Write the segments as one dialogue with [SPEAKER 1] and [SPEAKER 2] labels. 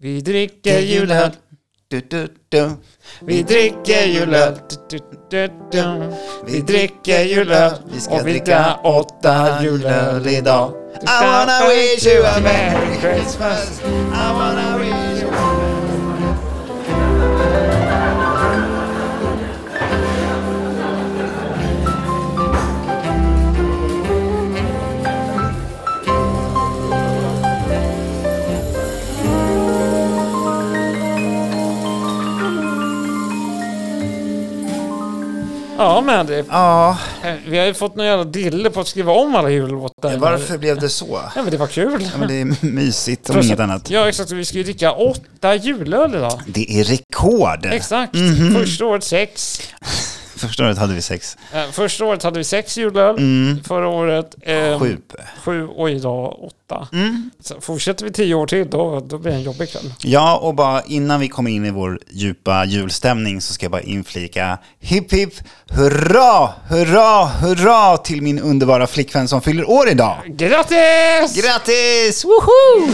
[SPEAKER 1] Vi dricker julöl.
[SPEAKER 2] Du, du, du.
[SPEAKER 1] Vi dricker julöl. Du, du, du, du. Vi dricker julöl.
[SPEAKER 2] Vi ska
[SPEAKER 1] Och vi
[SPEAKER 2] dricka
[SPEAKER 1] drar åtta julöl idag.
[SPEAKER 2] I wanna wish you a merry Christmas. I wanna wish you a
[SPEAKER 1] Ja men det, eh,
[SPEAKER 2] Ja,
[SPEAKER 1] vi har ju fått någon jävla dille på att skriva om alla jullåtar.
[SPEAKER 2] varför blev det så?
[SPEAKER 1] Ja men det var kul.
[SPEAKER 2] Ja, men det är mysigt om
[SPEAKER 1] Plus-
[SPEAKER 2] inget annat.
[SPEAKER 1] Ja exakt, vi ska ju dricka åtta julöl idag.
[SPEAKER 2] Det är rekord!
[SPEAKER 1] Exakt.
[SPEAKER 2] Mhm.
[SPEAKER 1] Första året sex.
[SPEAKER 2] Första året hade vi sex.
[SPEAKER 1] Eh, Första året hade vi sex julöl. Förra året eh,
[SPEAKER 2] Mm. Sju. Mm.
[SPEAKER 1] sju och idag åtta. Så fortsätter vi tio år till då, då blir det en jobbig kväll.
[SPEAKER 2] Ja, och bara innan vi kommer in i vår djupa julstämning så ska jag bara inflika hipp hipp hurra, hurra, hurra till min underbara flickvän som fyller år idag.
[SPEAKER 1] Grattis!
[SPEAKER 2] Grattis! Woho!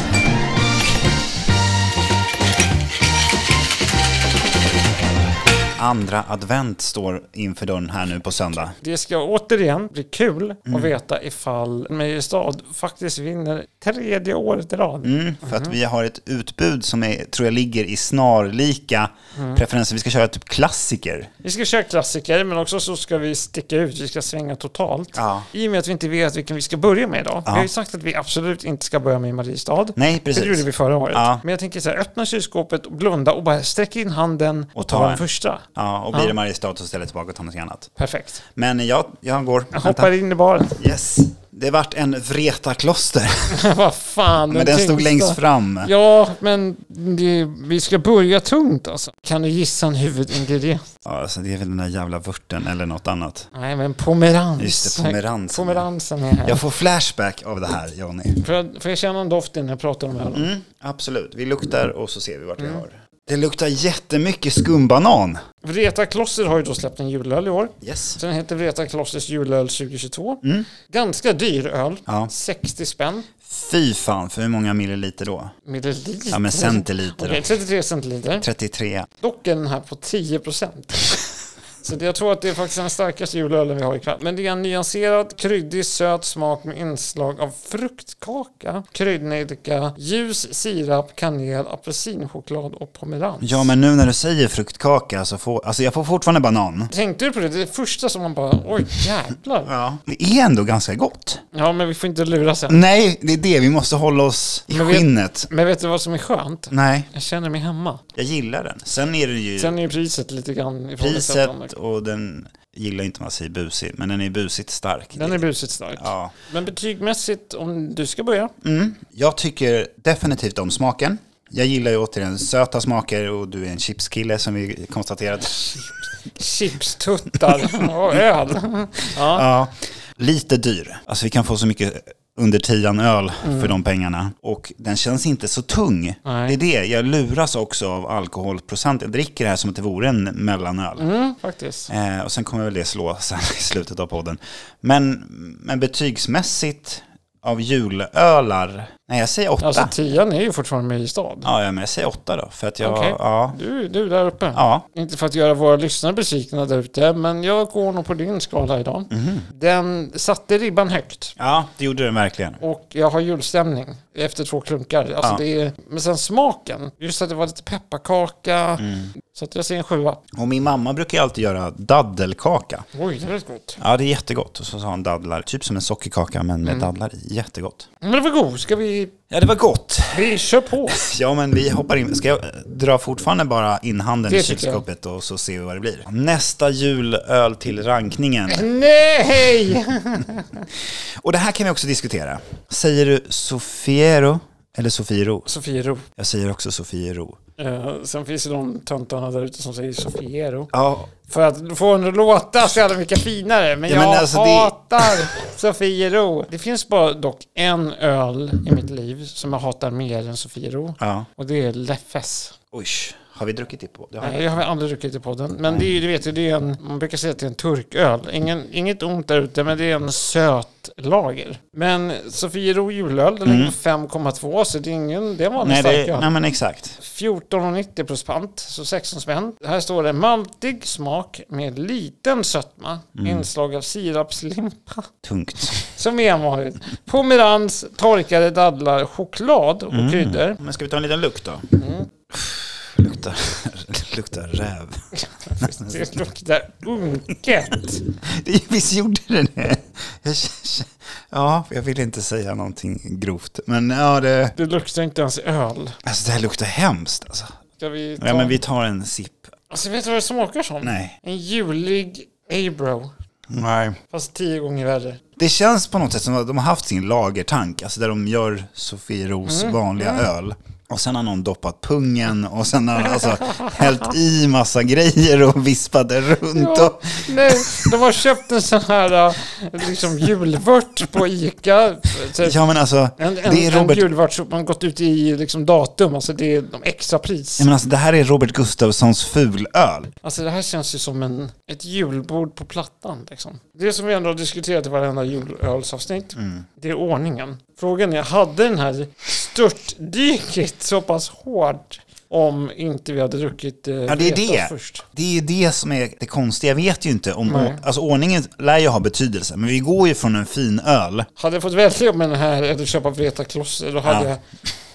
[SPEAKER 2] Andra advent står inför dörren här nu på söndag.
[SPEAKER 1] det ska återigen bli kul
[SPEAKER 2] Mm.
[SPEAKER 1] att veta ifall Mariestad faktiskt vinner tredje året i rad.
[SPEAKER 2] Mm, för
[SPEAKER 1] Mhm.
[SPEAKER 2] att vi har ett utbud som är, tror jag ligger i snarlika
[SPEAKER 1] Mm.
[SPEAKER 2] preferenser. Vi ska köra typ klassiker.
[SPEAKER 1] Vi ska köra klassiker, men också så ska vi sticka ut. Vi ska svänga totalt.
[SPEAKER 2] Ja.
[SPEAKER 1] I och med att vi inte vet vilken vi ska börja med idag. Vi har ju sagt att vi absolut inte ska börja med Mariestad.
[SPEAKER 2] Nej,
[SPEAKER 1] Det gjorde vi
[SPEAKER 2] precis.
[SPEAKER 1] förra året.
[SPEAKER 2] Ja.
[SPEAKER 1] Men jag tänker så här, öppna kylskåpet och blunda och bara sträck in handen och, ta,
[SPEAKER 2] ta
[SPEAKER 1] den
[SPEAKER 2] en.
[SPEAKER 1] första.
[SPEAKER 2] Ja, och blir det Mariestad så ställer jag tillbaka och tar något annat.
[SPEAKER 1] Perfekt.
[SPEAKER 2] Men jag, jag går.
[SPEAKER 1] Jag hoppar in i baren.
[SPEAKER 2] Yes. Det vart en Vreta-kloster.
[SPEAKER 1] Vad fan.
[SPEAKER 2] Men den stod
[SPEAKER 1] tyngsta.
[SPEAKER 2] längst fram.
[SPEAKER 1] Ja, men det, vi ska börja tungt alltså. Kan du gissa en huvudingrediens?
[SPEAKER 2] Ja, alltså det är väl den där jävla vörten eller något annat.
[SPEAKER 1] Nej, men pomerans.
[SPEAKER 2] Just det, pomerans.
[SPEAKER 1] Pomeransen är här.
[SPEAKER 2] Jag får flashback av det här, Johnny.
[SPEAKER 1] Får, jag, får jag känna en doft innan jag pratar om ölen?
[SPEAKER 2] Mm, absolut. Vi luktar och så ser vi vart
[SPEAKER 1] Mm.
[SPEAKER 2] vi har. Det luktar jättemycket skumbanan.
[SPEAKER 1] Vreta Kloster har ju då släppt en julöl i år.
[SPEAKER 2] Yes.
[SPEAKER 1] Så den heter Vreta Klosters julöl 2022. Ganska dyr öl.
[SPEAKER 2] Mm. Ja.
[SPEAKER 1] 60 spänn.
[SPEAKER 2] Fy fan, för hur många milliliter då?
[SPEAKER 1] Milliliter.
[SPEAKER 2] Ja, men centiliter.
[SPEAKER 1] Okej, 33 centiliter.
[SPEAKER 2] 33.
[SPEAKER 1] Dock är den här på 10 procent. Så det- jag tror att det är faktiskt den starkaste julölen vi har ikväll. Men det är en nyanserad, kryddig, söt smak med inslag av fruktkaka, kryddnejlika, ljus sirap, kanel, apelsinchoklad och pomerans.
[SPEAKER 2] Ja, men nu när du säger fruktkaka så får... Alltså jag får fortfarande banan.
[SPEAKER 1] Tänkte du på det? Det är det första som man bara, oj jävlar.
[SPEAKER 2] Ja. Det är ändå ganska gott.
[SPEAKER 1] Ja, men vi får inte lura sen.
[SPEAKER 2] Nej, det är det. Vi måste hålla oss i
[SPEAKER 1] Men vet-
[SPEAKER 2] skinnet.
[SPEAKER 1] Men vet du vad som är skönt?
[SPEAKER 2] Nej,
[SPEAKER 1] Jag känner mig hemma.
[SPEAKER 2] jag gillar den. Sen är det ju
[SPEAKER 1] Sen är ju priset lite grann ifrågasättande.
[SPEAKER 2] priset och den gillar inte man säger busig, men den är busigt stark.
[SPEAKER 1] Den är busigt stark.
[SPEAKER 2] Ja.
[SPEAKER 1] Men betygmässigt, om du ska börja?
[SPEAKER 2] Mm. Jag tycker definitivt om smaken. Jag gillar ju återigen söta smaker och du är en chipskille som vi konstaterat.
[SPEAKER 1] chipstuttar och öl. Ja.
[SPEAKER 2] Ja. Lite dyr. Alltså vi kan få så mycket under tian öl för de pengarna. Och den känns inte så tung.
[SPEAKER 1] Mm. Nej.
[SPEAKER 2] Det är det. Jag luras också av alkoholprocent. Jag dricker det här som att det vore en mellanöl.
[SPEAKER 1] Mm, faktiskt.
[SPEAKER 2] Eh, och sen kommer väl det slå sen i slutet av podden. Men, men betygsmässigt av julölar, nej jag säger åtta.
[SPEAKER 1] Alltså tian är ju fortfarande med i stad.
[SPEAKER 2] ja, ja, men jag säger åtta då. För att jag,
[SPEAKER 1] Okej.
[SPEAKER 2] ja,
[SPEAKER 1] Du, du där uppe.
[SPEAKER 2] ja.
[SPEAKER 1] Inte för att göra våra lyssnare besvikna där ute, men jag går nog på din skala idag.
[SPEAKER 2] Mhm.
[SPEAKER 1] Den satte ribban högt.
[SPEAKER 2] Ja, det gjorde den verkligen.
[SPEAKER 1] Och jag har julstämning efter två klunkar. Alltså
[SPEAKER 2] Ja.
[SPEAKER 1] det är, men sen smaken, just att det var lite pepparkaka.
[SPEAKER 2] Mm.
[SPEAKER 1] Så att jag ser en sjua.
[SPEAKER 2] Och min mamma brukar ju alltid göra daddelkaka.
[SPEAKER 1] Oj, det lät gott.
[SPEAKER 2] Ja, det är jättegott. Och så sa hon dadlar, typ som en sockerkaka men
[SPEAKER 1] Mm.
[SPEAKER 2] med dadlar i. Jättegott.
[SPEAKER 1] Men det var god. Ska vi...
[SPEAKER 2] Ja, det var gott.
[SPEAKER 1] Vi kör på.
[SPEAKER 2] Ja, men vi hoppar in. Ska jag eh, dra fortfarande bara in handen
[SPEAKER 1] Det
[SPEAKER 2] i
[SPEAKER 1] tycker jag.
[SPEAKER 2] kylskåpet och så ser vi vad det blir. Nästa julöl till rankningen.
[SPEAKER 1] Nej!
[SPEAKER 2] Och det här kan vi också diskutera. Säger du Sofiero eller Sofiero?
[SPEAKER 1] Sofiero.
[SPEAKER 2] Jag säger också Sofiero.
[SPEAKER 1] Eh, sen finns det de töntarna där ute som säger Sofiero.
[SPEAKER 2] Ja,
[SPEAKER 1] För att få henne att låta så jävla mycket finare. Men
[SPEAKER 2] Ja,
[SPEAKER 1] jag
[SPEAKER 2] men alltså det-
[SPEAKER 1] hatar Sofiero. Det finns bara dock en öl i mitt liv som jag hatar mer än Sofiero.
[SPEAKER 2] ja.
[SPEAKER 1] Och det är Leffes.
[SPEAKER 2] Usch. Har vi druckit det på? Det har vi.
[SPEAKER 1] Nej, jag har aldrig druckit i podden. Men det är, ju- du vet, ju, det är en, man brukar säga att det är en turköl. Ingen, inget ont där ute, men det är en söt lager. Men Sofiero julöl, den ligger på 5,2, så det är ingen, det är en vanlig
[SPEAKER 2] Mm. Nej,
[SPEAKER 1] starköl.
[SPEAKER 2] det, nej, men exakt.
[SPEAKER 1] 14,90 plus pant, så 16 spänn. Här står det maltig smak med liten sötma,
[SPEAKER 2] Mm.
[SPEAKER 1] inslag av sirapslimpa,
[SPEAKER 2] Tungt.
[SPEAKER 1] som är vanligt. Pomerans, torkade dadlar, choklad
[SPEAKER 2] Mm.
[SPEAKER 1] och kryddor.
[SPEAKER 2] Men ska vi ta en liten lukt då?
[SPEAKER 1] Mm.
[SPEAKER 2] Luktar, luktar räv.
[SPEAKER 1] Det luktar unket.
[SPEAKER 2] Det- Visst gjorde det det? Jag, k- ja, jag vill inte säga någonting grovt. Men ja, det,
[SPEAKER 1] Det luktar inte ens öl.
[SPEAKER 2] alltså, det här luktar hemskt. Alltså.
[SPEAKER 1] Ska vi ta...
[SPEAKER 2] Ja, men vi tar en sipp.
[SPEAKER 1] Alltså vet du vad det smakar som?
[SPEAKER 2] Nej.
[SPEAKER 1] En julig Abro.
[SPEAKER 2] Nej.
[SPEAKER 1] Fast tio gånger värre.
[SPEAKER 2] Det känns på något sätt som att de har haft sin lagertank, alltså där de gör Sofieros
[SPEAKER 1] Mm.
[SPEAKER 2] vanliga öl. Och sen har någon doppat pungen och sen har de alltså hällt i massa grejer och vispat runt.
[SPEAKER 1] Ja,
[SPEAKER 2] Och,
[SPEAKER 1] nej, de har köpt en sån här äh, liksom julvört på Ica. Typ.
[SPEAKER 2] ja men alltså,
[SPEAKER 1] En, en,
[SPEAKER 2] det är Robert
[SPEAKER 1] en julvört som har gått ut i liksom, datum, alltså det är de extra pris.
[SPEAKER 2] Jag menar, alltså, det här är Robert Gustafssons fulöl.
[SPEAKER 1] Alltså det här känns ju som en, ett julbord på plattan. Liksom. Det som vi ändå har diskuterat i varenda julölsavsnitt,
[SPEAKER 2] Mm.
[SPEAKER 1] det är ordningen. Frågan är, hade den här störtdykit så pass hårt om inte vi hade druckit eh,
[SPEAKER 2] Ja, det är
[SPEAKER 1] Vetas
[SPEAKER 2] det.
[SPEAKER 1] först?
[SPEAKER 2] Det är ju det som är det konstiga. Jag vet ju inte om...
[SPEAKER 1] Nej.
[SPEAKER 2] Alltså ordningen lär ju ha betydelse, men vi går ju från en fin öl.
[SPEAKER 1] Hade jag fått välja med den här eller köpa Vreta kloster, då hade
[SPEAKER 2] Ja.
[SPEAKER 1] jag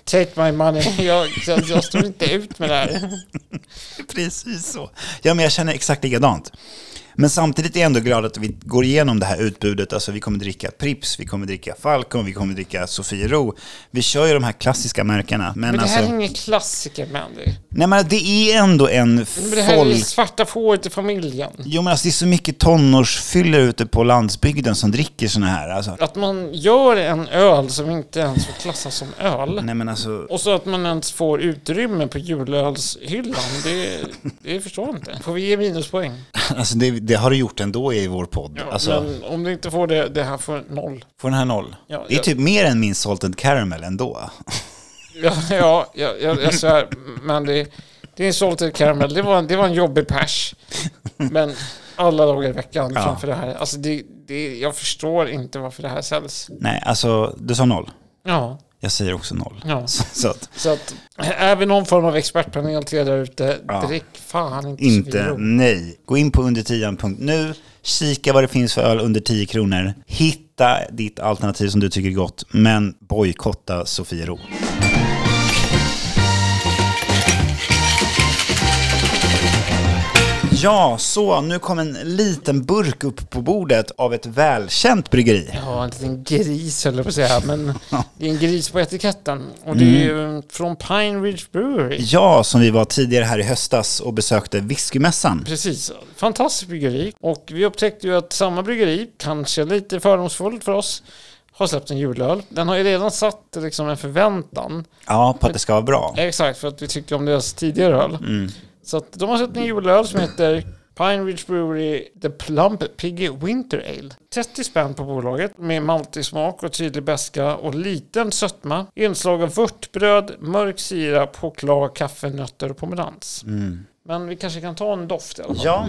[SPEAKER 1] Take my money, jag, jag, jag står inte ut med det här.
[SPEAKER 2] Precis så. Ja, men jag känner exakt likadant. Men samtidigt är jag ändå glad att vi går igenom det här utbudet. Alltså vi kommer dricka Prips, vi kommer dricka Falcon, vi kommer dricka Sofiero. Vi kör ju de här klassiska märkena. Men,
[SPEAKER 1] Men det
[SPEAKER 2] alltså,
[SPEAKER 1] här är ingen klassiker, Mandy.
[SPEAKER 2] nej, men det är ändå en
[SPEAKER 1] Men det här är
[SPEAKER 2] folk...
[SPEAKER 1] svarta fåret i familjen.
[SPEAKER 2] Jo men alltså det är så mycket tonårsfyller ute på landsbygden som dricker såna här. Alltså,
[SPEAKER 1] Att man gör en öl som inte ens får klassas som öl.
[SPEAKER 2] nej men alltså...
[SPEAKER 1] Och så att man ens får utrymme på julölshyllan, det, det förstår jag inte. Får vi ge minuspoäng?
[SPEAKER 2] Alltså det, det har du gjort ändå i vår podd.
[SPEAKER 1] Ja,
[SPEAKER 2] alltså,
[SPEAKER 1] Men om du inte får det, det här får noll.
[SPEAKER 2] Får den här noll?
[SPEAKER 1] Ja,
[SPEAKER 2] det är
[SPEAKER 1] jag-
[SPEAKER 2] typ mer än min Salted Caramel ändå.
[SPEAKER 1] Ja, ja jag, jag, jag svär, men det, det är en salted caramel, det var, en- det var en jobbig pers. Men alla dagar i veckan
[SPEAKER 2] Ja.
[SPEAKER 1] framför det här. Alltså det, det, jag förstår inte varför det här säljs.
[SPEAKER 2] Nej, alltså du sa noll.
[SPEAKER 1] Ja,
[SPEAKER 2] Jag säger också noll.
[SPEAKER 1] ja.
[SPEAKER 2] Så, så att
[SPEAKER 1] Så att, är vi någon form av expertpanel till er där ute,
[SPEAKER 2] Ja.
[SPEAKER 1] drick fan inte,
[SPEAKER 2] inte
[SPEAKER 1] Sviro.
[SPEAKER 2] nej. Gå in på undertian.nu, kika vad det finns för öl under 10 kronor. Hitta ditt alternativ som du tycker är gott, men bojkotta Sofiero. Ja, så nu kom en liten burk upp på bordet av ett välkänt bryggeri.
[SPEAKER 1] Ja, en liten gris höll jag på att säga, men det är en gris på etiketten. Och
[SPEAKER 2] Mm.
[SPEAKER 1] det är ju från Pine Ridge Brewery.
[SPEAKER 2] Ja, som vi var tidigare här i höstas och besökte whiskymässan.
[SPEAKER 1] Precis, fantastiskt bryggeri. Och vi upptäckte ju att samma bryggeri, kanske lite fördomsfullt för oss, har släppt en julöl. Den har ju redan satt liksom en förväntan.
[SPEAKER 2] Ja, på att det ska vara bra.
[SPEAKER 1] Exakt, för att vi tyckte om deras tidigare öl. Så att de har släppt en julöl som heter Pine Ridge Brewery The Plump Piggy Winter Ale. 30 spänn på bolaget med maltig smak och tydlig beska och liten sötma. Inslag av vörtbröd, mörk sirap, choklad, kaffe, nötter och pomerans. Men vi kanske kan ta en doft i alla fall.
[SPEAKER 2] Ja.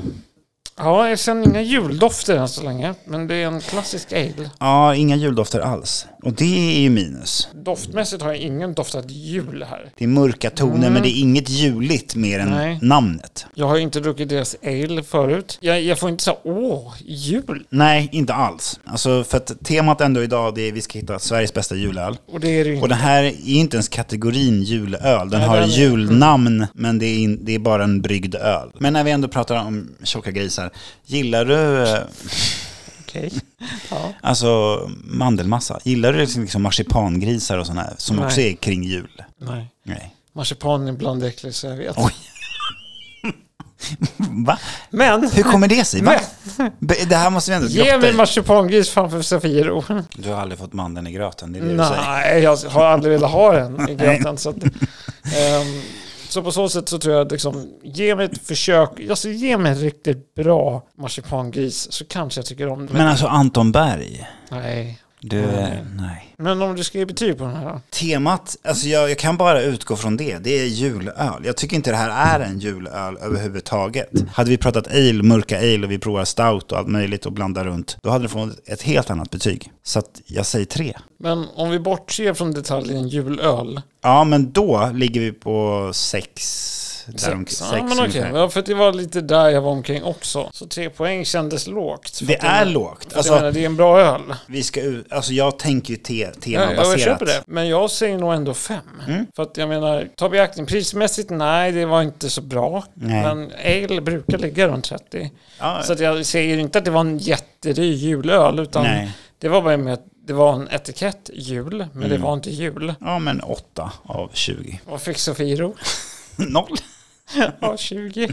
[SPEAKER 1] Ja, jag känner inga juldofter än så länge, men det är en klassisk ale.
[SPEAKER 2] ja, inga juldofter alls. Och det är ju minus.
[SPEAKER 1] Doftmässigt har jag ingen doftat jul här.
[SPEAKER 2] Det är mörka toner, men det är inget juligt mer än
[SPEAKER 1] Mm. Nej.
[SPEAKER 2] namnet.
[SPEAKER 1] Jag har ju inte druckit deras ale förut. Jag, jag får inte säga åh, jul.
[SPEAKER 2] Nej, inte alls. Alltså, för att temat ändå idag det är vi ska hitta Sveriges bästa julöl.
[SPEAKER 1] Och det är det ju
[SPEAKER 2] Och
[SPEAKER 1] inte.
[SPEAKER 2] den här är inte ens kategorin julöl. Den
[SPEAKER 1] Nej,
[SPEAKER 2] har
[SPEAKER 1] den är- mm.
[SPEAKER 2] julnamn, men det är, in, det är bara en bryggd öl. Men när vi ändå pratar om tjocka grisar, gillar du eh,
[SPEAKER 1] Okej. Ja.
[SPEAKER 2] Alltså mandelmassa. Gillar du liksom, liksom marsipangrisar och sådana här som
[SPEAKER 1] Nej.
[SPEAKER 2] också är kring jul?
[SPEAKER 1] Nej.
[SPEAKER 2] Nej.
[SPEAKER 1] Marsipan är bland det äckligaste jag vet.
[SPEAKER 2] Oj. Va?
[SPEAKER 1] Men,
[SPEAKER 2] Hur kommer det sig? Va?
[SPEAKER 1] men
[SPEAKER 2] Be- Det här måste vi ändå
[SPEAKER 1] ge
[SPEAKER 2] grotta
[SPEAKER 1] mig
[SPEAKER 2] i.
[SPEAKER 1] marsipangris framför Safiro.
[SPEAKER 2] Du har aldrig fått mandeln i gröten, det är det du säger.
[SPEAKER 1] Nej, jag har aldrig velat ha den i gröten. så, att, ehm, så på så sätt så tror jag att liksom, ge mig ett försök. Alltså ge mig en riktigt bra marsipangris så kanske jag tycker om det.
[SPEAKER 2] Men alltså Anton Berg,
[SPEAKER 1] Nej.
[SPEAKER 2] Du, eh, nej.
[SPEAKER 1] Men om du ska ge betyg på den här då?
[SPEAKER 2] Temat, alltså jag, jag kan bara utgå från det. Det är julöl. Jag tycker inte det här är en julöl överhuvudtaget. Hade vi pratat ale, mörka ale och vi provar stout och allt möjligt och blandar runt, då hade det fått ett helt annat betyg. Så att jag säger tre.
[SPEAKER 1] Men om vi bortser från detaljen julöl.
[SPEAKER 2] Ja, men då ligger vi på sex. Där omkring-
[SPEAKER 1] Sex, ja, men
[SPEAKER 2] ungefär.
[SPEAKER 1] okej. Ja, för det var lite där jag var omkring också. Så tre poäng kändes lågt. För
[SPEAKER 2] Det
[SPEAKER 1] att
[SPEAKER 2] är
[SPEAKER 1] jag-
[SPEAKER 2] lågt.
[SPEAKER 1] Alltså, jag menar,
[SPEAKER 2] Alltså,
[SPEAKER 1] det är en bra öl.
[SPEAKER 2] vi ska, ut- alltså jag tänker ju te,
[SPEAKER 1] Ja,
[SPEAKER 2] temabaserat.
[SPEAKER 1] jag köper det. Men jag säger nog ändå fem.
[SPEAKER 2] Mm.
[SPEAKER 1] För att jag menar, ta beaktning prismässigt, nej det var inte så bra.
[SPEAKER 2] Nej.
[SPEAKER 1] Men ale brukar ligga runt 30.
[SPEAKER 2] Ja,
[SPEAKER 1] Så att jag säger inte att det var en jättedyr julöl, utan
[SPEAKER 2] nej.
[SPEAKER 1] det var bara med att det var en etikett jul, men det
[SPEAKER 2] Mm.
[SPEAKER 1] var inte jul.
[SPEAKER 2] ja, men åtta av 20.
[SPEAKER 1] Vad fick Sofiero?
[SPEAKER 2] Noll.
[SPEAKER 1] Ja, 20.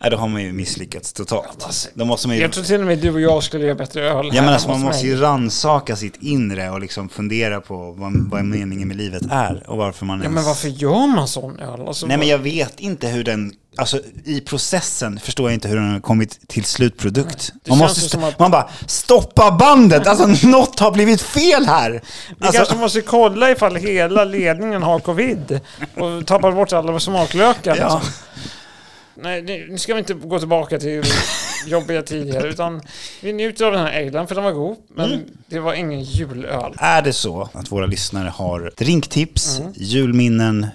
[SPEAKER 2] Nej, då har man ju misslyckats totalt. Då måste man ju...
[SPEAKER 1] alltså, Jag tror till och med du och jag skulle göra bättre öl.
[SPEAKER 2] Ja,
[SPEAKER 1] här
[SPEAKER 2] men alltså,
[SPEAKER 1] hos
[SPEAKER 2] man måste
[SPEAKER 1] mig.
[SPEAKER 2] ju rannsaka sitt inre och liksom fundera på vad, vad meningen med livet är och varför man
[SPEAKER 1] Ja, men varför gör man sån öl? Alltså,
[SPEAKER 2] Nej, men
[SPEAKER 1] vad-
[SPEAKER 2] jag vet inte hur den... Alltså i processen förstår jag inte hur den har kommit till slutprodukt.
[SPEAKER 1] Det
[SPEAKER 2] Man,
[SPEAKER 1] känns
[SPEAKER 2] måste
[SPEAKER 1] ju
[SPEAKER 2] st-
[SPEAKER 1] som att-
[SPEAKER 2] man bara, stoppa bandet! Alltså något har blivit fel här!
[SPEAKER 1] Vi
[SPEAKER 2] Alltså,
[SPEAKER 1] kanske måste kolla ifall hela ledningen har covid och tappar bort alla smaklökar.
[SPEAKER 2] ja.
[SPEAKER 1] liksom. Nej, nu nu ska vi inte gå tillbaka till jobbiga tidigare, utan vi njuter av den här alen för den var god, men
[SPEAKER 2] Mm.
[SPEAKER 1] det var ingen julöl.
[SPEAKER 2] Är det så att våra lyssnare har drinktips,
[SPEAKER 1] Mm.
[SPEAKER 2] julminnen,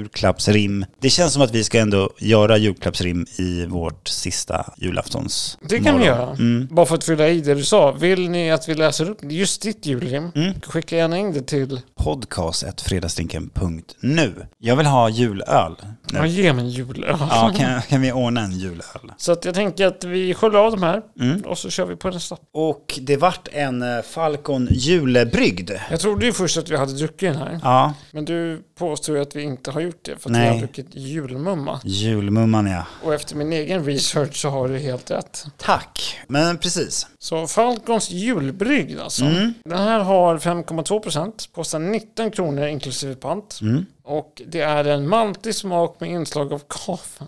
[SPEAKER 2] julklappsrim. Det känns som att vi ska ändå göra julklappsrim i vårt sista julaftons
[SPEAKER 1] Det kan vi göra.
[SPEAKER 2] Mm.
[SPEAKER 1] Bara för att fylla i det du sa. Vill ni att vi läser upp just ditt julrim?
[SPEAKER 2] Mm.
[SPEAKER 1] Skicka gärna in det till...
[SPEAKER 2] podcast.fredagsdrinken.nu. Jag vill ha julöl. Nu.
[SPEAKER 1] Ja, ge mig en julöl.
[SPEAKER 2] Ja, kan, kan vi ordna en julöl?
[SPEAKER 1] Så att jag tänker att vi sköljer av de här
[SPEAKER 2] Mm.
[SPEAKER 1] och så kör vi på nästa.
[SPEAKER 2] Och det vart en eh, Falcon julebrygd.
[SPEAKER 1] Jag trodde ju först att vi hade druckit den här.
[SPEAKER 2] Ja,
[SPEAKER 1] Men du påstår ju att vi inte har gjort det för att
[SPEAKER 2] Nej.
[SPEAKER 1] vi har druckit julmumma.
[SPEAKER 2] julmumman ja.
[SPEAKER 1] Och efter min egen research så har du helt rätt.
[SPEAKER 2] Tack. Men precis.
[SPEAKER 1] Så Falcons julbrygd alltså.
[SPEAKER 2] Mm.
[SPEAKER 1] Den här har 5,2 procent, kostar 19 kronor inklusive pant.
[SPEAKER 2] Mm.
[SPEAKER 1] Och det är en maltig smak med inslag av kaffe.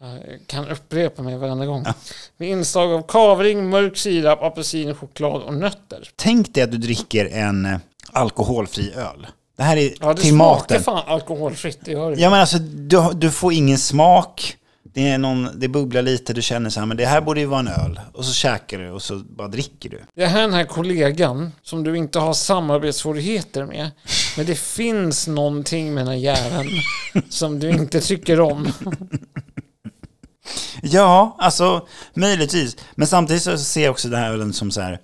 [SPEAKER 1] Jag kan upprepa mig varenda gång. Med inslag av kavring, mörk sirap, apelsin, choklad och nötter.
[SPEAKER 2] Tänk dig att du dricker en eh, alkoholfri öl. Det här är
[SPEAKER 1] Ja, det
[SPEAKER 2] till
[SPEAKER 1] smakar
[SPEAKER 2] maten.
[SPEAKER 1] fan alkoholfritt, det gör det.
[SPEAKER 2] Ja men alltså du, har- du får ingen smak, det, är någon, det bubblar lite, du känner så här, men det här borde ju vara en öl. Och så käkar du och så bara dricker du.
[SPEAKER 1] Det här är den här kollegan som du inte har samarbetssvårigheter med. Men det finns någonting med den här jäveln som du inte tycker om.
[SPEAKER 2] Ja, alltså möjligtvis. Men samtidigt så ser jag också den här ölen som så här,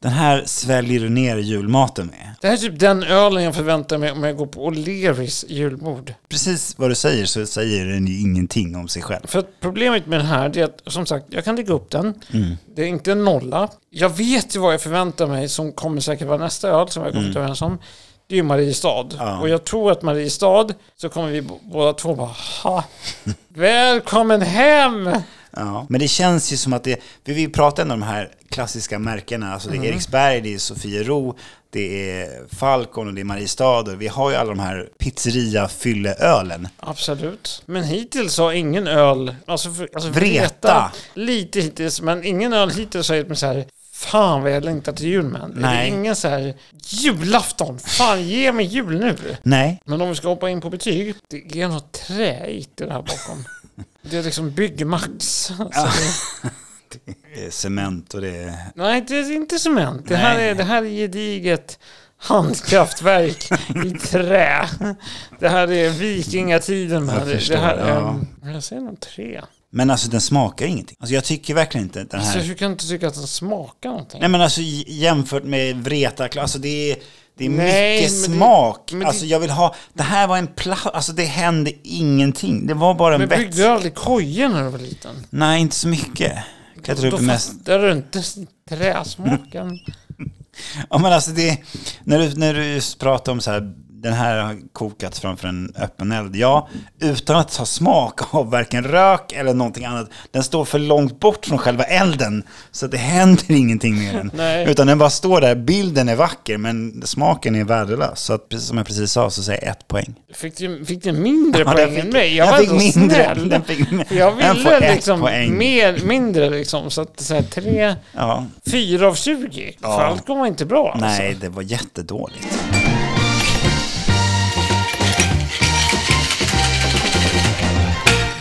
[SPEAKER 2] den här sväljer du ner julmaten med.
[SPEAKER 1] Det här är typ den ölen jag förväntar mig om jag går på O'Learys julbord.
[SPEAKER 2] Precis vad du säger så säger den ju ingenting om sig själv.
[SPEAKER 1] För att problemet med den här det är att, som sagt, jag kan lägga upp den. Det är inte en nolla. Jag vet ju vad jag förväntar mig som kommer säkert vara nästa öl som jag har kommit överens om. Det är ju Mariestad.
[SPEAKER 2] Ja.
[SPEAKER 1] Och jag tror att Mariestad, så kommer vi bo- båda två bara, ha, välkommen hem!
[SPEAKER 2] Ja. Men det känns ju som att det, vi vill prata om de här klassiska märkena, alltså det är Eriksberg, det är Sofiero, det är Falcon och det är Mariestad och vi har ju alla de här pizzeria-fylleölen.
[SPEAKER 1] Absolut. Men hittills har ingen öl, alltså, för, alltså
[SPEAKER 2] Vreta.
[SPEAKER 1] lite hittills, men ingen öl hittills har gett mig så här, fan vad jag längtar till jul man.
[SPEAKER 2] Nej.
[SPEAKER 1] Det är ingen så här, julafton, fan ge mig jul nu.
[SPEAKER 2] Nej,
[SPEAKER 1] Men om vi ska hoppa in på betyg, det är något träigt i det här bakom. Det är liksom byggmax. Alltså, det,
[SPEAKER 2] det är cement och det är...
[SPEAKER 1] nej, det är inte cement. Det här
[SPEAKER 2] Nej.
[SPEAKER 1] är, det här är gediget handkraftverk i trä. Det här är vikingatiden.
[SPEAKER 2] Jag
[SPEAKER 1] Man.
[SPEAKER 2] förstår,
[SPEAKER 1] det här,
[SPEAKER 2] ja.
[SPEAKER 1] ehm, jag säger nog tre.
[SPEAKER 2] Men alltså den smakar ingenting. Alltså jag tycker verkligen inte den
[SPEAKER 1] Alltså,
[SPEAKER 2] här...
[SPEAKER 1] jag kan inte tycka att den smakar någonting.
[SPEAKER 2] Nej men alltså j- jämfört med Vreta, alltså det är, det är
[SPEAKER 1] Nej,
[SPEAKER 2] mycket
[SPEAKER 1] men det-
[SPEAKER 2] smak.
[SPEAKER 1] men det-
[SPEAKER 2] alltså jag vill ha... Det här var en plats, alltså det hände ingenting. Det var bara en
[SPEAKER 1] men
[SPEAKER 2] bett.
[SPEAKER 1] byggde du aldrig kojor när du var liten?
[SPEAKER 2] Nej, inte så mycket. Klättrar
[SPEAKER 1] Då
[SPEAKER 2] upp i mest...
[SPEAKER 1] fattade du inte träsmaken.
[SPEAKER 2] Ja men alltså det... När du, när du just pratar om så här Den här har kokats framför en öppen eld. Ja, utan att ta smak av varken rök eller någonting annat. Den står för långt bort från själva elden. Så det händer ingenting med den.
[SPEAKER 1] Nej.
[SPEAKER 2] Utan den bara står där. Bilden är vacker men smaken är värdelös. Så att, precis som jag precis sa så säger jag ett poäng.
[SPEAKER 1] Fick du, fick du mindre
[SPEAKER 2] Ja, den
[SPEAKER 1] poäng
[SPEAKER 2] fick-
[SPEAKER 1] än mig?
[SPEAKER 2] den
[SPEAKER 1] Jag var
[SPEAKER 2] fick
[SPEAKER 1] ändå
[SPEAKER 2] mindre.
[SPEAKER 1] snäll.
[SPEAKER 2] Den fick mindre.
[SPEAKER 1] För jag
[SPEAKER 2] Den får
[SPEAKER 1] ville
[SPEAKER 2] ett
[SPEAKER 1] liksom
[SPEAKER 2] poäng.
[SPEAKER 1] mer, mindre liksom. Så att så här, tre,
[SPEAKER 2] Ja.
[SPEAKER 1] fyra av 20.
[SPEAKER 2] Ja.
[SPEAKER 1] Falcon var inte bra alltså.
[SPEAKER 2] Nej, det var jättedåligt.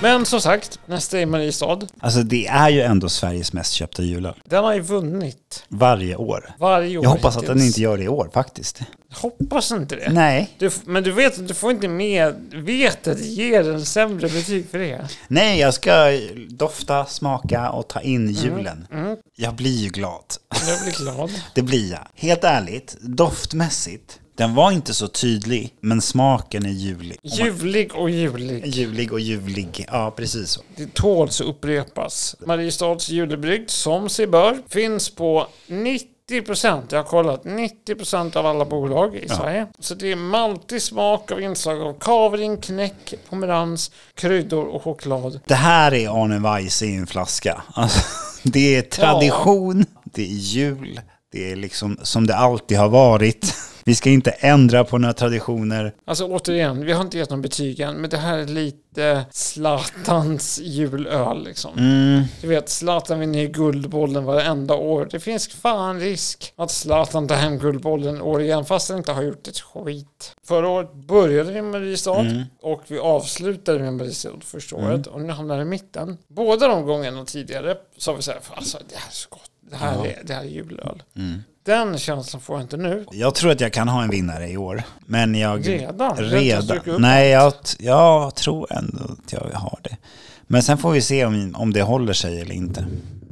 [SPEAKER 1] Men som sagt, nästa är Mariestad.
[SPEAKER 2] Alltså det är ju ändå Sveriges mest köpta julöl.
[SPEAKER 1] Den har ju vunnit
[SPEAKER 2] Varje år.
[SPEAKER 1] varje år
[SPEAKER 2] Jag hoppas att den
[SPEAKER 1] hittills.
[SPEAKER 2] inte gör det i år faktiskt.
[SPEAKER 1] Hoppas inte det.
[SPEAKER 2] Nej.
[SPEAKER 1] Du, f- men du vet att du får inte med vetet ger en sämre betyg för det.
[SPEAKER 2] Nej, jag ska dofta, smaka och ta in julen. Jag blir ju glad.
[SPEAKER 1] Jag blir glad.
[SPEAKER 2] Det blir jag. Helt ärligt, doftmässigt. Den var inte så tydlig, men smaken är julig. Om man-
[SPEAKER 1] Julig och julig.
[SPEAKER 2] Julig och julig. Ja, precis så.
[SPEAKER 1] Det tåls att upprepas. Mariestads julebrygd, som sig bör, finns på 90%, jag har kollat, 90% av alla bolag i Sverige. Så det är maltig smak av inslag av kavring, knäck, pomerans, kryddor och choklad.
[SPEAKER 2] Det här är Arne Weise i en flaska. Alltså, det är tradition, det är jul, det är liksom som det alltid har varit. Vi ska inte ändra på några traditioner.
[SPEAKER 1] Alltså återigen, vi har inte gett någon betyg än, men det här är lite Zlatans julöl liksom. Du vet, Zlatan vinner ju Guldbollen varenda år. Det finns fan risk att Zlatan tar hem Guldbollen år igen, fast han inte har gjort ett skit. Förra året började vi med Mariestad och vi avslutade med Mariestad första året och nu hamnar det i mitten. Båda de gångerna tidigare sa vi så här, alltså det här är så gott. Det här, är, det här är julöl. Den känslan får jag inte nu.
[SPEAKER 2] Jag tror att jag kan ha en vinnare i år. Men jag...
[SPEAKER 1] Redan? Du har inte ens
[SPEAKER 2] Redan?
[SPEAKER 1] druckit upp
[SPEAKER 2] Nej, jag, t- jag tror ändå att jag har det. Men sen får vi se om, om det håller sig eller inte.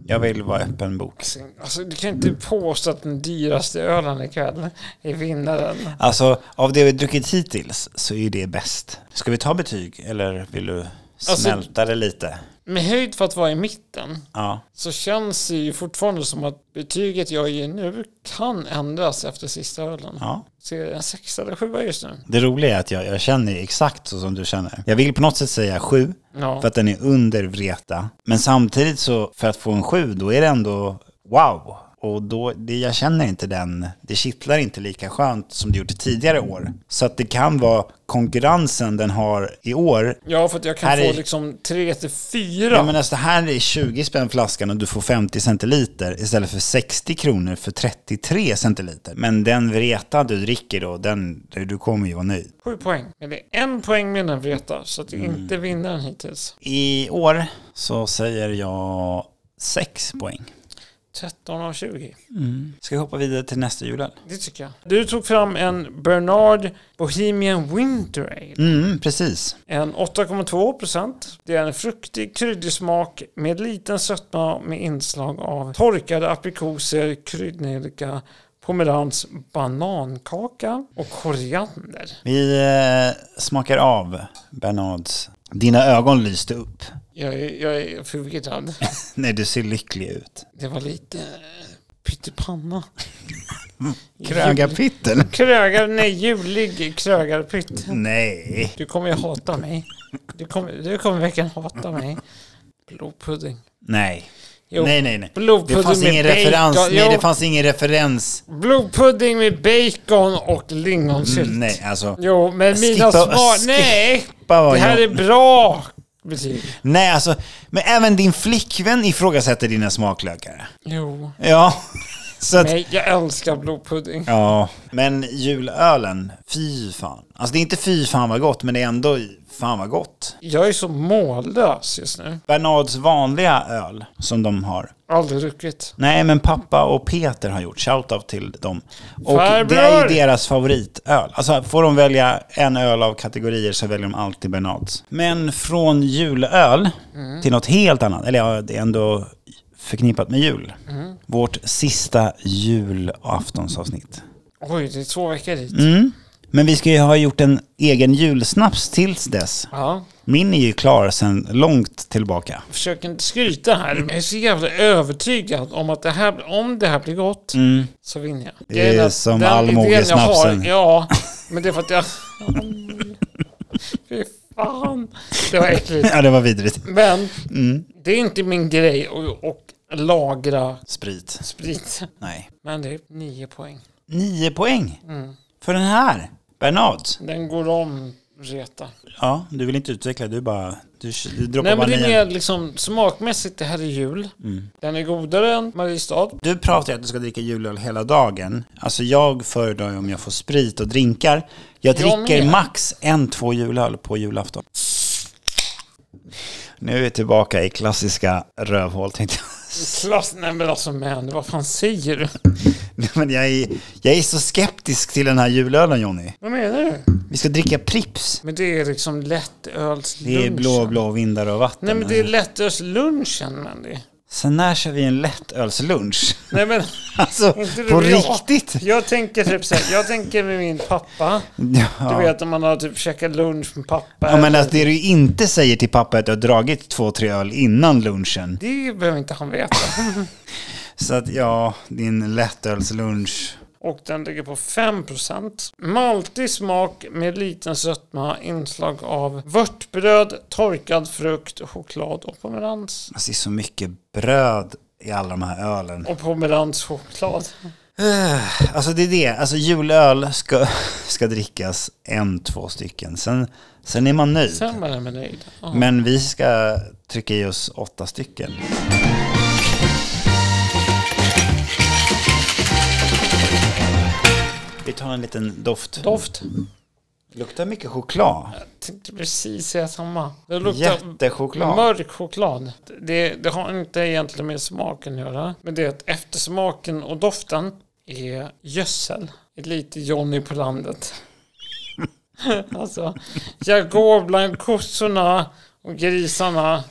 [SPEAKER 2] Jag vill vara öppen bok.
[SPEAKER 1] Alltså, du kan inte påstå att den dyraste ölen ikväll är vinnaren.
[SPEAKER 2] Alltså, av det vi druckit hittills så är det bäst. Ska vi ta betyg eller vill du
[SPEAKER 1] Alltså-
[SPEAKER 2] smälta det lite?
[SPEAKER 1] Med höjd för att vara i mitten
[SPEAKER 2] Ja.
[SPEAKER 1] så känns det ju fortfarande som att betyget jag ger nu kan ändras efter sista ölen.
[SPEAKER 2] ja.
[SPEAKER 1] Så är det en sexa eller sjua just nu?
[SPEAKER 2] Det roliga är att jag, jag känner ju exakt så som du känner. Jag vill på något sätt säga sju,
[SPEAKER 1] Ja.
[SPEAKER 2] för att den är under Vreta. Men samtidigt så, för att få en sju, då är det ändå wow. Och då, det, jag känner inte den, det kittlar inte lika skönt som det gjort tidigare år. Så att det kan vara konkurrensen den har i år.
[SPEAKER 1] Ja, för att jag kan
[SPEAKER 2] Här
[SPEAKER 1] få
[SPEAKER 2] är-
[SPEAKER 1] liksom tre till fyra.
[SPEAKER 2] Ja men alltså det här är 20 spänn flaskan och du får 50 centiliter istället för 60 kronor för 33 centiliter. Men den Vreta du dricker då, den, du kommer ju vara nöjd.
[SPEAKER 1] Sju poäng. Men det är en poäng mindre än Vreta, så att det
[SPEAKER 2] Mm.
[SPEAKER 1] är inte vinnaren hittills.
[SPEAKER 2] I år så säger jag 6 poäng.
[SPEAKER 1] 13 av 20.
[SPEAKER 2] Ska vi hoppa vidare till nästa julöl?
[SPEAKER 1] Det tycker jag. Du tog fram en Bernard Bohemian Winter Ale.
[SPEAKER 2] Mm, precis.
[SPEAKER 1] En 8,2 procent. Det är en fruktig, kryddig smak med liten sötma med inslag av torkade aprikoser, kryddnejlika, pomerans, banankaka och koriander.
[SPEAKER 2] Vi eh, smakar av Bernards. Dina ögon lyste upp.
[SPEAKER 1] Jag är, jag är förvirrad.
[SPEAKER 2] Nej, du ser lycklig ut.
[SPEAKER 1] Det var lite eh, pyttipanna.
[SPEAKER 2] Krögarpyttel?
[SPEAKER 1] Krögar, nej, julig krögarpytt.
[SPEAKER 2] Nej.
[SPEAKER 1] Du kommer ju hata mig. Du kommer, du kommer verkligen hata mig. Blodpudding.
[SPEAKER 2] Nej.
[SPEAKER 1] Jo,
[SPEAKER 2] Nej, nej, nej. Det
[SPEAKER 1] Blodpudding
[SPEAKER 2] fanns ingen
[SPEAKER 1] med bacon.
[SPEAKER 2] referens. Nej,
[SPEAKER 1] Jo.
[SPEAKER 2] det fanns ingen referens.
[SPEAKER 1] Blodpudding med bacon och lingonsylt.
[SPEAKER 2] Nej, alltså.
[SPEAKER 1] Jo, men mina
[SPEAKER 2] Skippa-
[SPEAKER 1] svar...
[SPEAKER 2] skip-
[SPEAKER 1] Nej!
[SPEAKER 2] Bara vad
[SPEAKER 1] Det här
[SPEAKER 2] jag-
[SPEAKER 1] är bra betyg.
[SPEAKER 2] Nej, alltså. Men även din flickvän ifrågasätter dina smaklökar.
[SPEAKER 1] Jo.
[SPEAKER 2] Ja. Så att,
[SPEAKER 1] Nej, jag älskar blodpudding.
[SPEAKER 2] Ja, men julölen, fy fan. Alltså det är inte fy fan vad gott, men det är ändå fan vad gott.
[SPEAKER 1] Jag är så mållös just nu.
[SPEAKER 2] Bernards vanliga öl som de har.
[SPEAKER 1] Aldrig druckit.
[SPEAKER 2] Nej, men pappa och Peter har gjort. Shoutout till dem. Och
[SPEAKER 1] Farbror!
[SPEAKER 2] det är ju deras favoritöl. Alltså får de välja en öl av kategorier så väljer de alltid Bernards. Men från julöl till något helt annat, eller ja, det är ändå förknippat med jul. Vårt sista julaftonsavsnitt.
[SPEAKER 1] Oj, det är två veckor dit.
[SPEAKER 2] Mm. Men vi ska ju ha gjort en egen julsnaps tills dess.
[SPEAKER 1] Ja.
[SPEAKER 2] Min är ju klar sedan långt tillbaka.
[SPEAKER 1] Försök inte skryta här. men Jag är så jävla övertygad om att det här, om det här blir gott så vinner jag.
[SPEAKER 2] Mm. Det är
[SPEAKER 1] Grejen
[SPEAKER 2] som
[SPEAKER 1] den idén jag har-
[SPEAKER 2] allmogesnapsen.
[SPEAKER 1] Ja, men det är för att jag... Fy fan. Det var äckligt.
[SPEAKER 2] Ja, det var vidrigt.
[SPEAKER 1] Men
[SPEAKER 2] Mm.
[SPEAKER 1] det är inte min grej att och lagra
[SPEAKER 2] Sprit.
[SPEAKER 1] sprit.
[SPEAKER 2] Nej.
[SPEAKER 1] Men det är nio poäng.
[SPEAKER 2] Nio poäng
[SPEAKER 1] Mm.
[SPEAKER 2] för den här. Bernard.
[SPEAKER 1] Den går om reta.
[SPEAKER 2] Ja, du vill inte utveckla, du bara... Du, du droppar
[SPEAKER 1] Nej men
[SPEAKER 2] bara
[SPEAKER 1] det är
[SPEAKER 2] nian.
[SPEAKER 1] mer liksom smakmässigt, det här är jul.
[SPEAKER 2] Mm.
[SPEAKER 1] Den är godare än Mariestad.
[SPEAKER 2] Du pratar ju att du ska dricka julöl hela dagen. Alltså jag föredrar ju om jag får sprit och drinkar. Jag
[SPEAKER 1] Jag
[SPEAKER 2] dricker
[SPEAKER 1] med.
[SPEAKER 2] max en, två julöl på julafton. Nu är vi tillbaka i klassiska rövhål tänkte jag.
[SPEAKER 1] Klass, nej men alltså man, vad fan säger du?
[SPEAKER 2] Nej, Men jag är, jag är så skeptisk till den här julölen Jonny.
[SPEAKER 1] Vad menar du?
[SPEAKER 2] Vi ska dricka Pripps.
[SPEAKER 1] Men det är liksom lättölslunchen.
[SPEAKER 2] Det är blå, blå vindar och vatten.
[SPEAKER 1] Nej men det är lättölslunchen Mandy.
[SPEAKER 2] Sen när kör vi en lättölslunch?
[SPEAKER 1] Nej men
[SPEAKER 2] Alltså,
[SPEAKER 1] Inte
[SPEAKER 2] på
[SPEAKER 1] det jag.
[SPEAKER 2] riktigt?
[SPEAKER 1] jag tänker typ så här, jag tänker med min pappa.
[SPEAKER 2] Ja.
[SPEAKER 1] Du vet om man har typ käkat lunch med pappa.
[SPEAKER 2] Ja, men
[SPEAKER 1] eller-
[SPEAKER 2] att det du inte säger till pappa är att du har dragit två, tre öl innan lunchen.
[SPEAKER 1] Det behöver inte han veta.
[SPEAKER 2] Så att ja, din lättölslunch.
[SPEAKER 1] Och den ligger på 5%. Maltig smak med liten sötma, inslag av vörtbröd, torkad frukt, choklad och pomerans.
[SPEAKER 2] Alltså det är så mycket bröd i alla de här ölen.
[SPEAKER 1] Och pomeranschoklad.
[SPEAKER 2] Eh, Alltså det är det, alltså julöl ska, ska drickas en, två stycken. Sen, sen är man nöjd.
[SPEAKER 1] Sen var den med nöjd. Ja.
[SPEAKER 2] Men vi ska trycka i oss åtta stycken. Vi tar en liten doft.
[SPEAKER 1] Doft.
[SPEAKER 2] Luktar mycket choklad.
[SPEAKER 1] tänkte precis säga samma. Det luktar
[SPEAKER 2] Jättechoklad.
[SPEAKER 1] mörk choklad. Det, det har inte egentligen med smaken att göra. Men det är att eftersmaken och doften är gödsel. Ett lite Johnny på landet. alltså, jag går bland kossorna och grisarna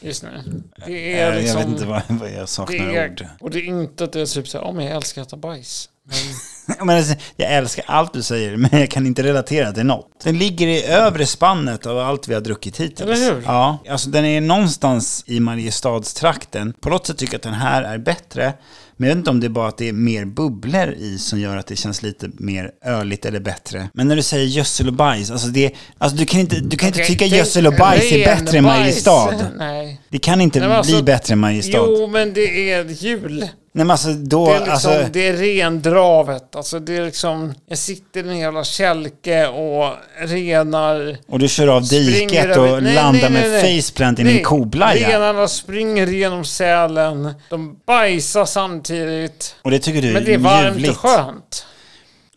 [SPEAKER 1] just nu. Det är
[SPEAKER 2] Eh, jag
[SPEAKER 1] liksom...
[SPEAKER 2] vet inte vad, vad jag saknar
[SPEAKER 1] det
[SPEAKER 2] ord.
[SPEAKER 1] är, och det är inte att det är typ så här, oh, men jag älskar att äta bajs. Men
[SPEAKER 2] Men alltså, jag älskar allt du säger, men jag kan inte relatera till något. Den ligger i övre spannet av allt vi har druckit hittills.
[SPEAKER 1] Eller hur?
[SPEAKER 2] Ja, alltså den är någonstans i Mariestadstrakten. På något sätt tycker jag att den här är bättre. Men jag vet inte om det är bara att det är mer bubblor i som gör att det känns lite mer öligt eller bättre. Men när du säger gödsel och bajs, alltså, det, alltså du kan inte, du kan inte tycka
[SPEAKER 1] tänk-
[SPEAKER 2] gödsel och bajs är
[SPEAKER 1] ren
[SPEAKER 2] bättre än
[SPEAKER 1] bajs.
[SPEAKER 2] Mariestad.
[SPEAKER 1] Nej.
[SPEAKER 2] Det kan inte
[SPEAKER 1] Nej, men alltså-
[SPEAKER 2] bli bättre än Mariestad.
[SPEAKER 1] Jo, men det är jul.
[SPEAKER 2] Nej men alltså då,
[SPEAKER 1] Det är, liksom,
[SPEAKER 2] alltså,
[SPEAKER 1] det är rendravet. Alltså det är liksom, jag sitter i en jävla kälke och renar.
[SPEAKER 2] Och du kör av diket
[SPEAKER 1] över-
[SPEAKER 2] och
[SPEAKER 1] Nej,
[SPEAKER 2] landar
[SPEAKER 1] nej, nej,
[SPEAKER 2] med
[SPEAKER 1] nej.
[SPEAKER 2] faceplant i
[SPEAKER 1] Nej,
[SPEAKER 2] min koblaja.
[SPEAKER 1] Renarna springer genom sälen. De bajsar samtidigt.
[SPEAKER 2] Och det tycker du
[SPEAKER 1] Men det är
[SPEAKER 2] är
[SPEAKER 1] varmt
[SPEAKER 2] ljuvligt.
[SPEAKER 1] och skönt.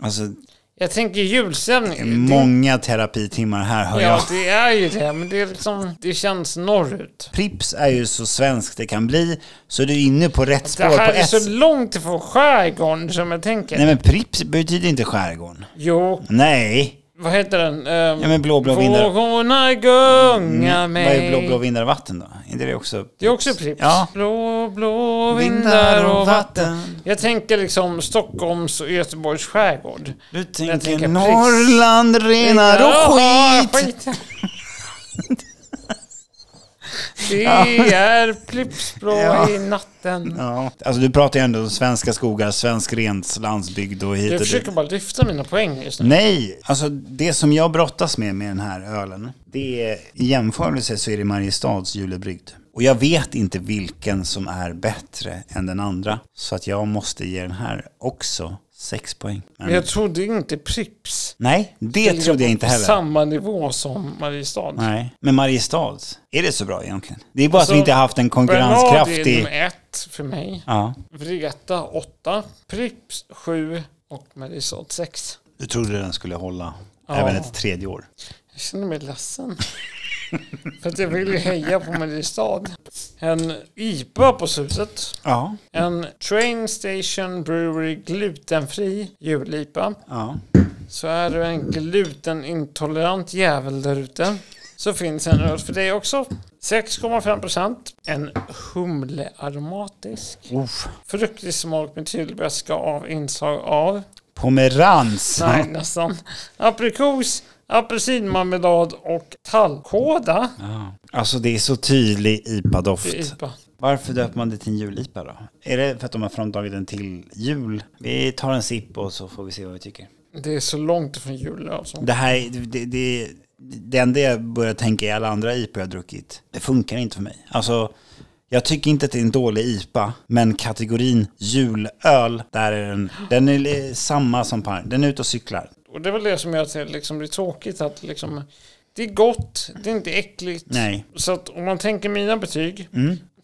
[SPEAKER 2] Alltså,
[SPEAKER 1] Jag tänker julstämning.
[SPEAKER 2] det är
[SPEAKER 1] Det-
[SPEAKER 2] många terapitimmar här hör jag.
[SPEAKER 1] Ja, det är ju det. Men det är liksom, det känns norrut.
[SPEAKER 2] Prips är ju så svenskt det kan bli, så du är inne på rätt
[SPEAKER 1] Det
[SPEAKER 2] spår på
[SPEAKER 1] här är
[SPEAKER 2] ett...
[SPEAKER 1] så långt ifrån skärgården som jag tänker.
[SPEAKER 2] Nej men Prips betyder inte skärgården.
[SPEAKER 1] Jo,
[SPEAKER 2] Nej.
[SPEAKER 1] vad heter den? Ehm,
[SPEAKER 2] Ja men blå blå vindar.
[SPEAKER 1] Vågorna gunga
[SPEAKER 2] Vad
[SPEAKER 1] mig.
[SPEAKER 2] är blå blå vindar och vatten då? Är inte det också?
[SPEAKER 1] Det är också Pripps.
[SPEAKER 2] Ja.
[SPEAKER 1] Blå, blå vindar och vatten. Jag tänker liksom Stockholms och Göteborgs skärgård.
[SPEAKER 2] Du
[SPEAKER 1] Jag tänker
[SPEAKER 2] tänker
[SPEAKER 1] Pripps.
[SPEAKER 2] Norrland, renar och
[SPEAKER 1] Ja,
[SPEAKER 2] skit.
[SPEAKER 1] Det är Pripps blå
[SPEAKER 2] Ja.
[SPEAKER 1] i natten.
[SPEAKER 2] Ja, alltså du pratar ju ändå om svenska skogar, svensk rens, landsbygd och hit
[SPEAKER 1] Jag
[SPEAKER 2] och dit.
[SPEAKER 1] försöker bara lyfta mina poäng just nu.
[SPEAKER 2] Nej, alltså det som jag brottas med med den här ölen, det är i jämförelse så är det Mariestads julebrygd. Och jag vet inte vilken som är bättre än den andra. Så att jag måste ge den här också sex poäng. Men,
[SPEAKER 1] Men jag trodde inte Pripps.
[SPEAKER 2] nej, det
[SPEAKER 1] ligger
[SPEAKER 2] trodde jag
[SPEAKER 1] på
[SPEAKER 2] inte heller.
[SPEAKER 1] Samma nivå som Mariestad.
[SPEAKER 2] Nej, men Mariestads, är det så bra egentligen? Det är bara att vi
[SPEAKER 1] Alltså,
[SPEAKER 2] inte har haft en
[SPEAKER 1] Bernard är
[SPEAKER 2] konkurrenskraftig...
[SPEAKER 1] nummer ett för mig.
[SPEAKER 2] Ja.
[SPEAKER 1] Vreta 8. Pripps 7. Och Mariestad 6.
[SPEAKER 2] Du trodde den skulle hålla
[SPEAKER 1] Ja.
[SPEAKER 2] även ett tredje år.
[SPEAKER 1] Jag känner mig ledsen. För att jag vill ju heja på Mariestad. En IPA på slutet.
[SPEAKER 2] Ja.
[SPEAKER 1] En Train Station Brewery glutenfri julipa.
[SPEAKER 2] ja.
[SPEAKER 1] Så är du en glutenintolerant jävel där ute så finns en öl för dig också. 6,5% En humlearomatisk.
[SPEAKER 2] Uff.
[SPEAKER 1] Fruktig smak med tydlig beska av inslag av
[SPEAKER 2] Pomerans.
[SPEAKER 1] Nej, nästan. Aprikos, apelsinmarmelad och tallkåda.
[SPEAKER 2] Ja. Alltså det är så tydlig
[SPEAKER 1] Det är
[SPEAKER 2] IPA-doft.
[SPEAKER 1] IPA.
[SPEAKER 2] Varför döper man det till en julipa då? Är det för att de har framtagit den till jul? Vi tar en sipp och så får vi se vad vi tycker.
[SPEAKER 1] Det är så långt ifrån jul alltså.
[SPEAKER 2] Det här, är- det, det, det enda jag börjar tänka i alla andra IPA jag druckit, det funkar inte för mig. Alltså, jag tycker inte att det är en dålig IPA, men kategorin julöl, där är den, den är li- samma som pan. Den är ute och cyklar.
[SPEAKER 1] Och det är väl det som gör att det liksom blir tråkigt att liksom, det är gott, det är inte äckligt.
[SPEAKER 2] Nej. Mm.
[SPEAKER 1] Så att om man tänker mina betyg,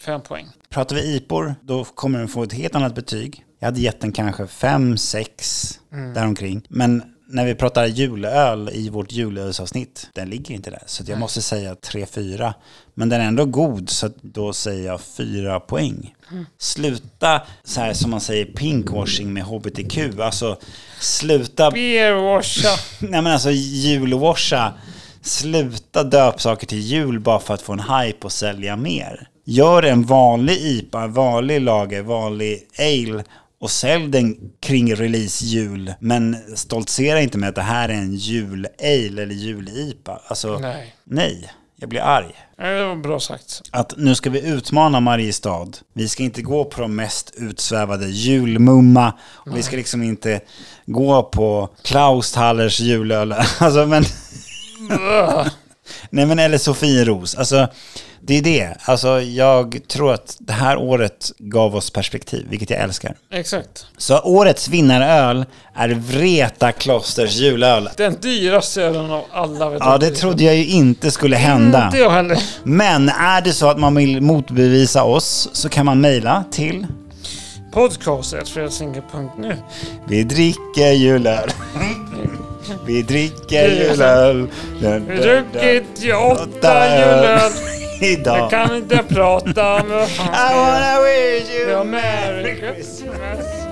[SPEAKER 1] fem poäng.
[SPEAKER 2] Pratar vi IPOR, då kommer den få ett helt annat betyg. Jag hade gett den kanske 5, 6, däromkring. Men när vi pratar julöl i vårt julölsavsnitt, den ligger inte där. Så att jag måste säga 3, 4. Men den är ändå god, så att då säger jag 4 poäng. Sluta, så här som man säger, pinkwashing med hbtq. Alltså, sluta...
[SPEAKER 1] Beerwasha.
[SPEAKER 2] Nej men alltså julwasha. Sluta döp saker till jul bara för att få en hype och sälja mer. Gör en vanlig IPA, en vanlig lager, vanlig ale och sälj den kring release jul. Men stoltsera inte med att det här är en jul-ale eller jul-IPA. Alltså, nej.
[SPEAKER 1] Nej.
[SPEAKER 2] Jag blir arg.
[SPEAKER 1] Nej, Det var bra sagt.
[SPEAKER 2] Att nu ska vi utmana Mariestad. Vi ska inte gå på de mest utsvävade julmumma. Och vi ska liksom inte gå på Klaus Tallers julöl. Alltså, men... Nej men eller Sofieros. Alltså det är det. Alltså jag tror att det här året gav oss perspektiv, vilket jag älskar.
[SPEAKER 1] Exakt.
[SPEAKER 2] Så årets vinnaröl är Vreta klosters julöl.
[SPEAKER 1] Den dyraste ölen av alla. Vet
[SPEAKER 2] Ja det trodde jag ju inte skulle hända.
[SPEAKER 1] inte jag heller.
[SPEAKER 2] Men är det så att man vill motbevisa oss så kan man mejla till
[SPEAKER 1] Podcast.fredsinge.nu
[SPEAKER 2] Vi dricker julöl. Vi dricker julöl. Dun, dun, dun.
[SPEAKER 1] Druckit ju åtta
[SPEAKER 2] Åtta
[SPEAKER 1] julöl.
[SPEAKER 2] öl
[SPEAKER 1] Jag
[SPEAKER 2] idag.
[SPEAKER 1] kan inte prata. Men vad fan
[SPEAKER 2] I
[SPEAKER 1] ska jag
[SPEAKER 2] wanna wish you
[SPEAKER 1] göra?
[SPEAKER 2] a
[SPEAKER 1] Merry Christmas.